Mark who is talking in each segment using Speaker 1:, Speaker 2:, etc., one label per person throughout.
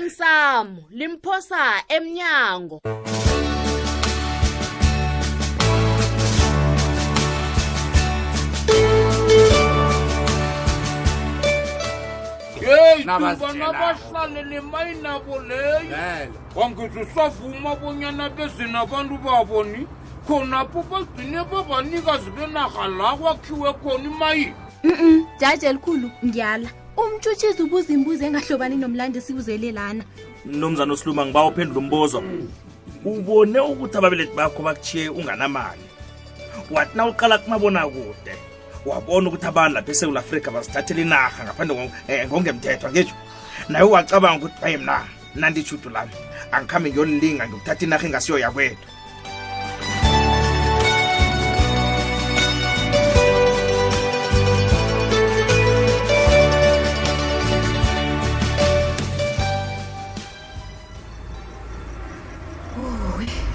Speaker 1: osemsamo limphosa emnyango
Speaker 2: yeyi
Speaker 3: Nabazitjela.
Speaker 2: duba nabahlale nemayinabo leyo
Speaker 3: vele
Speaker 2: wangisusavuma bonyana beze nabantu baboni khonapho bagcine babanikazi benarha la kwakhiwe khona imayini
Speaker 4: mm jaji elikhulu ngiyala umtshutshisi ubuza imbuzo engahlobani nomlandisi uzelelana
Speaker 5: mnumzana usiluma ngiba uphendula umbuzo ubone ukuthi ababelethi bakho bakuchiye unganamali wathi na uqala kumabona kude wabona ukuthi abantu lapha esewula afrika bazithathela inarha ngaphandle ngo- eh, ngongemthetho angisho naye wacabanga ukuthi baye mna nanditshudu lami angikhambe ngiyonilinga ngiyokuthatha inarha engasiyo yakwethu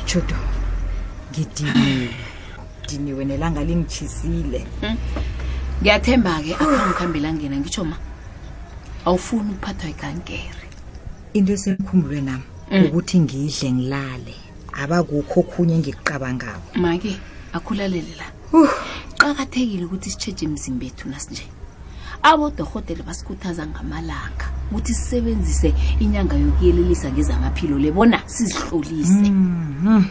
Speaker 6: judo ngidiniwe diniwe nelanga lingitshisile
Speaker 7: ngiyathemba-ke akhangikhambela ngena ngitsho ma awufuni ukuphathwa ikankere
Speaker 6: into esemkhumbulwe nami ukuthi ngidle ngilale abakukho okhunye engikuqabangako
Speaker 7: make akhulalele la qakathekile ukuthi sitshetshe imizimba yethu nasinje abodorhotele basikhuthaza ngamalanga ukuthi sisebenzise inyanga yokuyelelisa ngezamaphilo le bona sizihlolise
Speaker 6: Mm.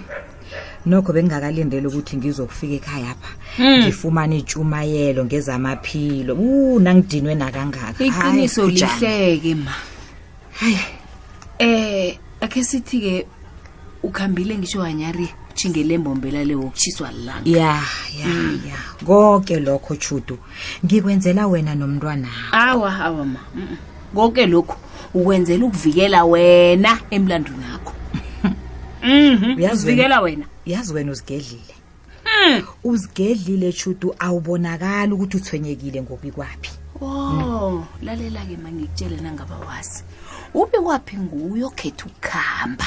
Speaker 6: nokho bengingakalindeli ukuthi ngizokufika ekhaya pha ngifumane itshumayelo ngezamaphilo u nangidinwe nakangaka Hayi,
Speaker 7: iqiniso
Speaker 6: Khujana.
Speaker 7: lihleke ma
Speaker 6: hayi
Speaker 7: eh akhe sithi-ke ukhambile ngisho hanyari utshingele embombela le wokutshiswa lilanga
Speaker 6: ya ya ya konke lokho judu ngikwenzela wena nomntwana
Speaker 7: awa awa ma mm, mm. konke lokhu ukwenzela ukuvikela wena emlandweni akho
Speaker 6: Uyazi wena-
Speaker 7: uzivikela wena
Speaker 6: yazi wena uzigedlile Hmm. uzigedlile judu awubonakali ukuthi uthwenyekile ngobi kwaphi
Speaker 7: o lalela-ke mangikutshele nangaba wazi ube kwaphi nguyo khetha ukuhamba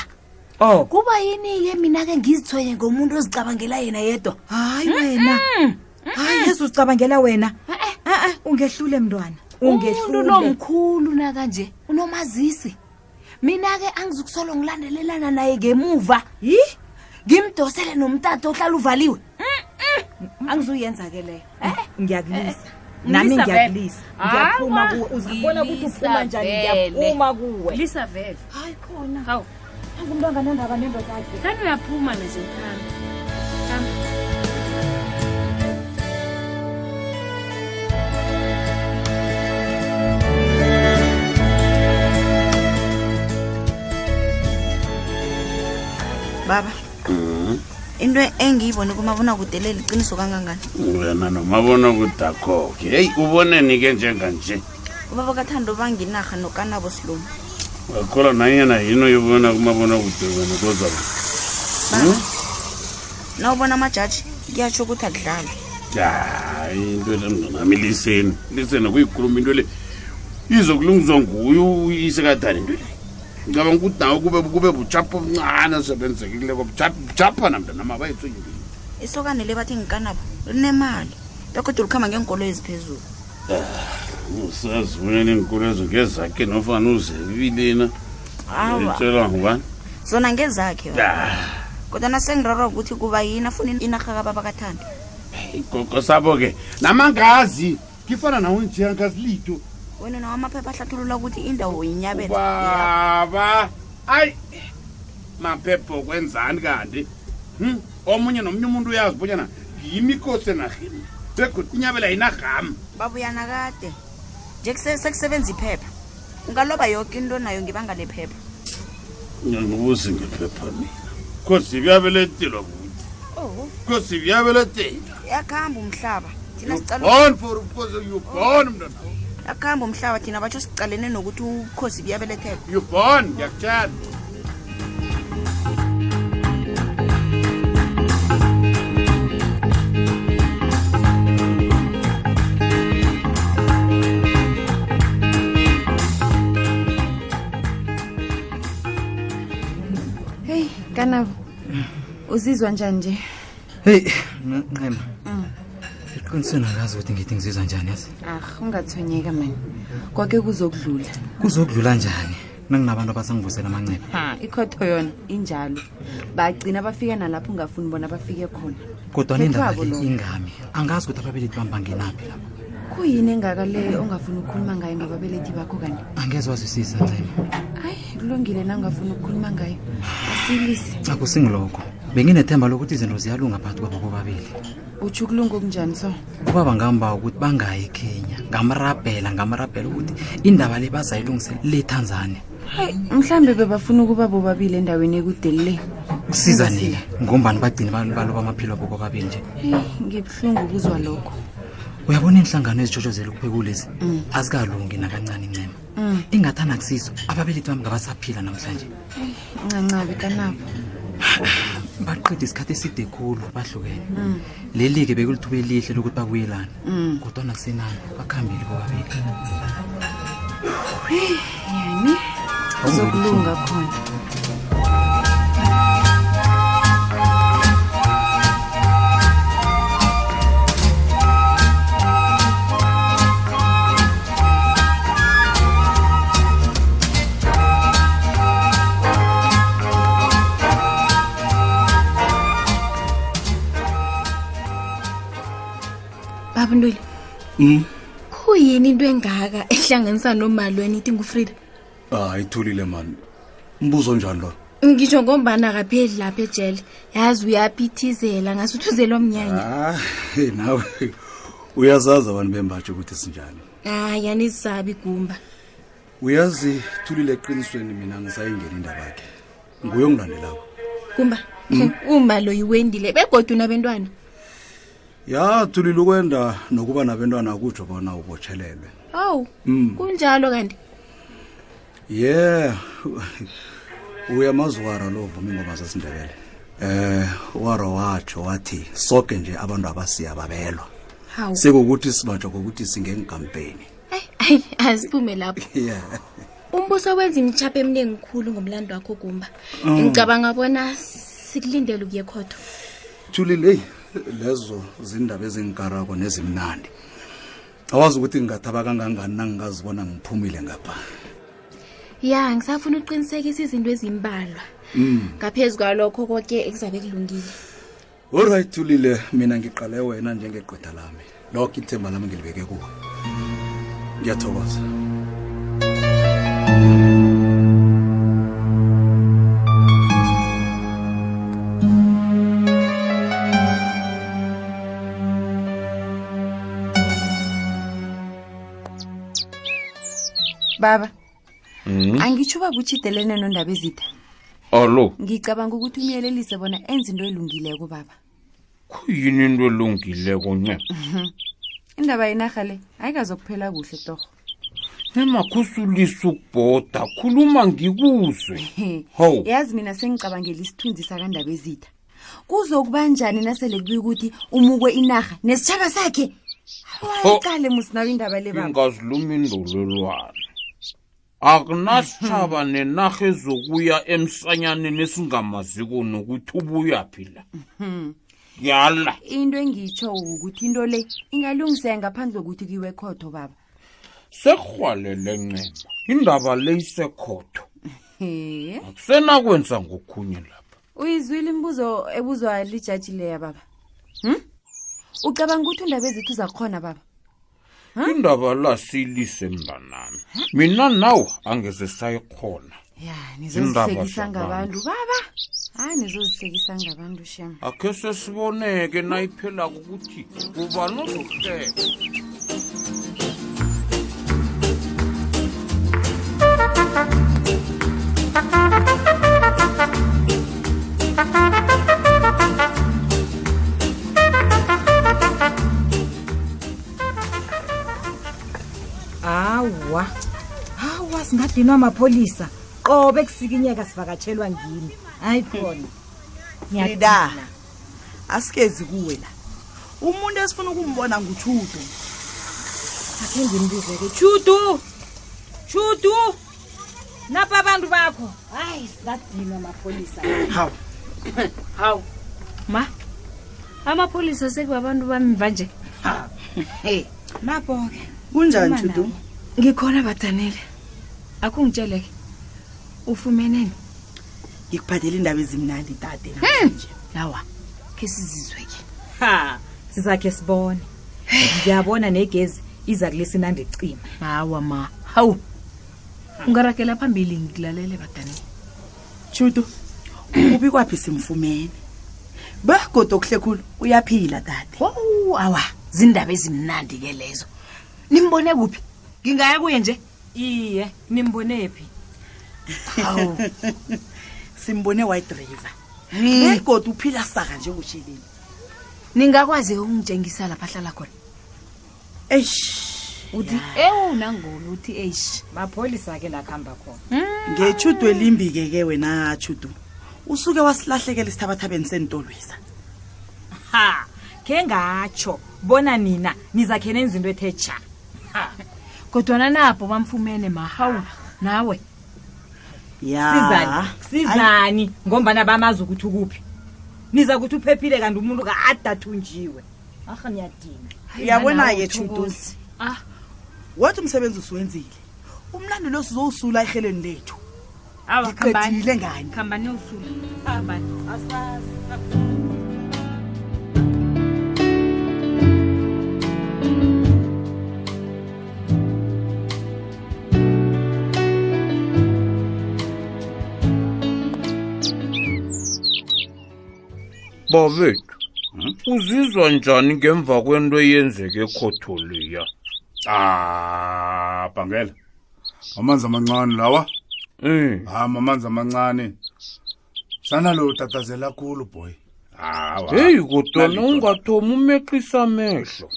Speaker 6: oh
Speaker 7: kuba yini-ke mina-ke ngizithwenye ngomuntu ozicabangela yena yedwa
Speaker 6: hayi wena hayi yesu uzicabangela wena
Speaker 7: Eh,
Speaker 6: a-a ungehlule mntwana
Speaker 7: umuntu
Speaker 6: ungehlule
Speaker 7: lomkhulu nakanje unomazisi mina-ke angizukusolo ngilandelelana naye ngemuva
Speaker 6: yi
Speaker 7: ngimdosele nomtato ohlala uvaliwe angizuyenza ke leyo
Speaker 6: ngiyakulisa nami
Speaker 7: Lisa vele.
Speaker 6: ngiyakulisa ngiyaphuma
Speaker 7: Awa,
Speaker 6: kuwe uzabona ukuthi
Speaker 7: Lisa
Speaker 6: uphuma njani
Speaker 7: vele.
Speaker 6: ngiyaphuma kuwe
Speaker 7: lisa vele
Speaker 6: hayi khona
Speaker 7: Hawu.
Speaker 6: angumntu anganandaba nendoda yakhe
Speaker 7: kani uyaphuma nje ukhamba
Speaker 8: baba into engiyibone kumabonakude le liqiniso kangangani
Speaker 3: wena nomabona kudakho-ke heyi uboneni-ke njenganje
Speaker 8: ubaba kathando banginarha nokanabo siloma
Speaker 3: wakhola nanyana yini oyibona kumabona kude wena kozaba
Speaker 8: baba na ubona amajaji kuyatsho ukuthi akudlali
Speaker 3: hayi into le mnganami liseni liseni kuyikhuluma into le izokulungiswa nguyo isekadani into le ngicabanga ukuthi nawe kube kube bujapha obuncane osebenzekileko bujapha namntanama abayitho yintoi
Speaker 8: isokane le bathi ngikanabo linemali bekodwa lukhamba ngeenkolo eziphezulu
Speaker 3: usazibonela iinkolo ezo ngezakhe nofana uzebilena
Speaker 8: awa
Speaker 3: itshelwa ngubani
Speaker 8: zona ngezakhe baba.
Speaker 3: Ah,
Speaker 8: kodwa nasengirarwa ukuthi kuba yini afuna inarha kababa kathando
Speaker 3: igogo sabo ke namangazi ngifana nawe njengazilito
Speaker 8: wena nawo amaphepha ahlathulula ukuthi indawo yinyabela
Speaker 3: baba ayi maphepho kwenzani kanti Hmm? omunye nomunye umuntu uyazi bonyana yimikosi enahini begodi inyabela yinagama
Speaker 8: babuyana kade nje kuse- sekusebenza iphepha ungaloba yoke into nayo ngibanga lephepha
Speaker 3: ngibuzi ngephepha mina kosi kuyabeletelwa kuthi kosi kuyabeletela
Speaker 8: yakuhamba umhlaba thina
Speaker 3: You're
Speaker 2: Oh.
Speaker 8: sicala
Speaker 3: born for because you're born mntana
Speaker 8: yakuhamba umhlaba thina batsho sicalene nokuthi ubukhosi buyabelethelwa
Speaker 3: you're born ngiyakutshela
Speaker 9: heyi kanabo uzizwa njani nje
Speaker 10: heyi mna ncema eqinisweni akazi ukuthi ngithi ngizizwa njani yazi
Speaker 9: ah ungathonyeka mani kwake kuzokudlula
Speaker 10: kuzokudlula njani nanginabantu abasangivusela amanceba
Speaker 9: ha ikhotho yona injalo bagcina bafike nalapho ungafuni bona bafike khona
Speaker 10: kodwa nendaba
Speaker 9: Khethwabo
Speaker 10: le
Speaker 9: lokho.
Speaker 10: ingami angazi ukuthi ababelethi bami bangenaphi lapho
Speaker 9: kuyini engakaleyo ongafuni ukukhuluma ngayo ngababelethi bakho kanti
Speaker 10: angeze wazwisisa ncema
Speaker 9: ayi kulungile nangafuni ukukhuluma ngayo asilise
Speaker 10: akusingilokho benginethemba lokuthi izinto ziyalunga phakathi kwabo bobabili
Speaker 9: utsho ukulunga okunjani so
Speaker 10: ubaba ngamba ukuthi bangayi ekenya ngamrabhela ngamrabhela ukuthi indaba le bazayilungisela le tanzania
Speaker 9: hayi mhlawumbe bebafuna ukuba bobabili endaweni ekudelile
Speaker 10: kusiza nina ngombani bagcine bal- baloba amaphilo abo bobabili nje
Speaker 9: heyi ngibuhlungu ukuzwa lokho
Speaker 10: uyabona iinhlangano ezitshotshozela ukuphekulezi
Speaker 9: Mm.
Speaker 10: azikalungi nakancane incema
Speaker 9: Mm.
Speaker 10: ingathani akusizo ababelethi bami ngabasaphila namhlanje
Speaker 9: ncancabi kanabo
Speaker 10: baqeda isikhathi eside khulu bahlukene
Speaker 9: Mm.
Speaker 10: leli-ke bekulithuba elihle lokuthi babuyelana
Speaker 9: Mm.
Speaker 10: kodwana kusenani bakuhambile bobabili
Speaker 9: Hey, yani zokulunga khona
Speaker 4: baba ntoli
Speaker 11: Mm.
Speaker 4: khuyini into engaka ehlanganisa nomalweni ithi ngufrida
Speaker 11: hayi ithulile mani mbuzo njani lo
Speaker 4: ngitsho ngombana kapheli lapha ejele yazi uyaphithizela ngasuthi uzelwa mnyanya
Speaker 11: ah, hey, nawe uyazazi abantu bembatsho ukuthi sinjani
Speaker 4: hayi anizisabi igumba
Speaker 11: uyazi thulile eqinisweni mina ngisayingena indaba yakhe nguye ongilandelako
Speaker 4: gumba uma loyi wendile begodwa unabentwana
Speaker 11: ya thulile ukwenda nokuba nabentwana kutsho bona ubotshelelwe
Speaker 4: hawu
Speaker 11: Mm.
Speaker 4: kunjalo kanti
Speaker 11: ye yeah. uyamaziwara lo vuma ingoma zesindebele eh waro watsho wathi soke nje abantu abasiya babelwa
Speaker 4: hawu
Speaker 11: sekukuthi sibatsho kokuthi singenkampeni
Speaker 4: ayi aziphume lapho
Speaker 11: yeah.
Speaker 4: umbuso wenza imitshapo eminingi khulu ngomlando wakho gumba
Speaker 11: Mm.
Speaker 4: ngicabanga bona sikulindele ukuye khotho
Speaker 11: thulile eyi lezo zindaba ezingikarako nezimnandi awazi ukuthi ngingathaba kangangani nangingazibona ngiphumile ngapha
Speaker 4: ya ngisafuna ukuqinisekisa izinto ezimbalwa
Speaker 11: mm.
Speaker 4: ngaphezu kwalokho koke ekuzabe kulungile
Speaker 11: olright thulile mina ngiqale wena njengegqwetha lami lokho ithemba lami ngilibeke kuwe ngiyathokoza
Speaker 9: baba
Speaker 12: Mhm.
Speaker 9: angitsho uba kutshidelene nondaba ezitha
Speaker 2: alo
Speaker 9: ngicabanga ukuthi umyelelise bona enze into elungileko baba
Speaker 2: kuyini into elungileko ncema
Speaker 9: Mhm. indaba yenarha le ayikazokuphela kuhle torho
Speaker 2: nemakusulisa ukubhoda khuluma ngikuzwe hawu
Speaker 9: yazi mina sengicabangela isithunzi sakandaba ezitha kuzokuba njani nasele kubuya ukuthi umukwe inarha nesitshaba sakhe
Speaker 2: Ho.
Speaker 9: ayiqale musinawo indaba le baba
Speaker 2: ingaziluma indololwane akunasitshaba nenarha ezokuya emsanyaneni esingamaziko nokuthi ubuyaphi la
Speaker 9: Mhm.
Speaker 2: yala
Speaker 9: into engitsho ukuthi into le ingalungiseka ngaphandle kokuthi kuyiwe khotho baba
Speaker 2: sekrhwalele ncema indaba le isekhotho
Speaker 9: He.
Speaker 2: akusenakwenza ngokhunye la
Speaker 9: uyizwile imibuzo ebuzwa lijaji leya baba hm ucabanga ukuthi undaba ezithu zakhona baba Hm?
Speaker 2: indaba lasilise mntanami mina nawe angeze sayikhona
Speaker 9: ya
Speaker 2: Indaba
Speaker 9: nizozihlekisa
Speaker 2: zabantu.
Speaker 9: ngabantu baba hayi nizozihlekisa ngabantu shem
Speaker 2: akhe sesiboneke nayiphela ukuthi ubani ozokuhleka
Speaker 6: awa awa singadinwa amapholisa qobe kusikinyeka sivakatshelwa ngimi hayi khona
Speaker 8: frida asikezi kuwe la umuntu esifuna ukumbona ngutshudo
Speaker 6: akhe ngimbize-ke chudu chudu napa abantu bakho hayi singadinwa amapholisa
Speaker 13: hawu hawu ma amapholisa sekubabantu bami mvanje
Speaker 6: napho-ke
Speaker 13: kunjani Judu? ngikhona badanile akungitsheleke
Speaker 14: ufumeneni
Speaker 13: ngikuphathela iindaba ezimnandi tate
Speaker 7: lawa khe sizizwe ke
Speaker 6: ha sizakhe sibone ngiyabona negezi iza kulisa inandi cima
Speaker 7: hawa ma hawu
Speaker 14: ungaragela phambili ngilalele badaneni
Speaker 13: shutu ubi kwaphi simfumene begoda okuhle khulu uyaphila tate
Speaker 7: awa zindaba ezimnandi ke lezo nimbone kuphi ngingaya kuye nje
Speaker 14: iye nimbone phi
Speaker 13: hawu simbone white river begoda uphila saka nje ngushilini
Speaker 7: ningakwazi ukungitshengisa lapha ahlala khona
Speaker 13: eish
Speaker 14: uthi ewu nangolo uthi eish
Speaker 6: mapholisa ke lakuhamba khona
Speaker 13: ngethudo elimbi-ke ke wena tshudu usuke wasilahlekela isithabathabeni sentolwisa
Speaker 6: ha khe ngatsho bona nina nizakhe nenza into ethe tsha
Speaker 14: kodwana napho bamfumene mahawu nawe
Speaker 6: sizani sizani ngombana bamazi ukuthi ukuphi niza kuthi uphephile kanti umuntu ka-adathunjiwe arha niyadina
Speaker 13: uyabona-ke tshuduzi wathi umsebenzi usiwenzile umlando lo sizowusula eheleni lethu ngiqedile ngani
Speaker 14: khambani usula
Speaker 3: babethu uzizwa njani ngemva kwento eyenzeke ekhotholiya
Speaker 2: ah bhangela amanzi amancane lawa Ah, hama amanzi amancane sanalo tatazela khulu boy hawa
Speaker 10: Eh,
Speaker 3: heyi kodwana ungathomi umeqisa amehlo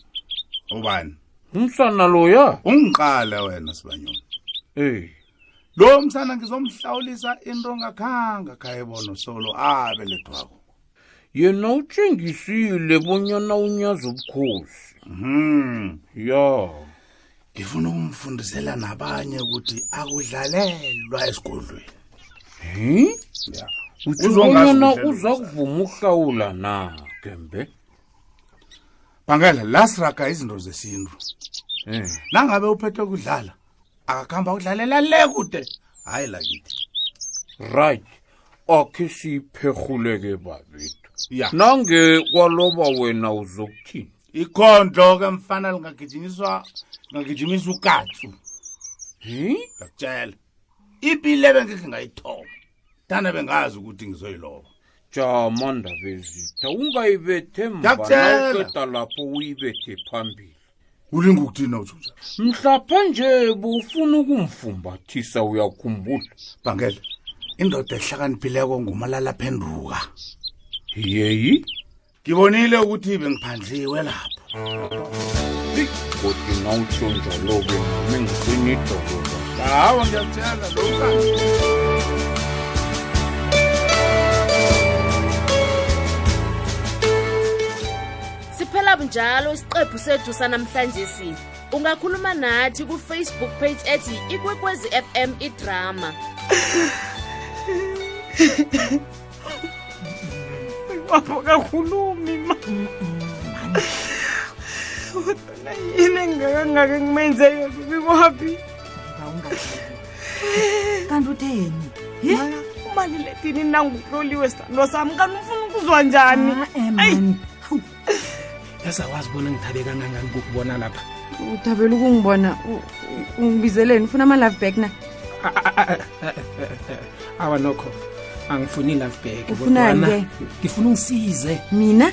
Speaker 2: ubani
Speaker 3: umsana loya
Speaker 2: ungiqala wena sibanyoni
Speaker 3: ey
Speaker 2: lo msana ngizomhlawulisa into ngakhanga khayebono solo abelethwako
Speaker 3: yena utshengisile bonyana unyaza ubukhosi
Speaker 2: mhm
Speaker 3: ya
Speaker 2: ngifuna ukumfundisela nabanye ukuthi akudlalelwa esigodlweni
Speaker 3: hi
Speaker 2: ya
Speaker 3: uzobonyana uza kuvuma uhlawula na gembe
Speaker 2: bhangela lasiraga izinto zesintu
Speaker 3: Eh.
Speaker 2: nangabe uphethe kudlala akakuhamba udlalela le kude hayi lakithi
Speaker 3: right akhe siyiphehuleke babethu
Speaker 2: Ya.
Speaker 3: nange kwaloba wena uzokuthini
Speaker 2: ikhondlo ke mfana lingagijinyiswa lingagijinyiswa ukatsu
Speaker 3: hi
Speaker 2: ndakutshela ibile bengekhe ngayithoma dana bengazi ukuthi ngizoyiloba
Speaker 3: jama ndabezitha ungayibethe
Speaker 2: Ndakutshela.
Speaker 3: mbanaoqeda lapho uyibethe phambili
Speaker 2: ulinga ukuthina utshutsha
Speaker 3: mhlaphanje bufuna ukumfumbathisa uyakhumbula
Speaker 2: bhangela indoda ehlakaniphileko ngumalalaphenduka
Speaker 3: yeyi
Speaker 2: ngibonile ukuthi bengiphandliwe lapho
Speaker 3: kodwa nawutsho njalo-ke nami ngiqine idoloba
Speaker 2: hawa ngiyakutshela lo msana.
Speaker 1: siphela bunjalo isiqephu sethu sanamhlanje si ungakhuluma nathi kufacebook page ethi ikwekwezi fm idrama
Speaker 15: Papa kakhulumi ma. Kodwa yini engakangake ngimenze yona ubikwaphi?
Speaker 6: kanti utheni
Speaker 15: Ye, umaliledini nangukloliwe sithandwa sami kanti ufuna ukuzwa njani? Ayi,
Speaker 5: yazawazi bona ngithabe kangangani kukubona lapha
Speaker 15: uthabela ukungibona u- u- ungibizeleni ufuna ama-love back na
Speaker 5: awa nokho angifuni i-love bag
Speaker 15: Ufunani
Speaker 5: kodwana ngifuna ungisize
Speaker 15: mina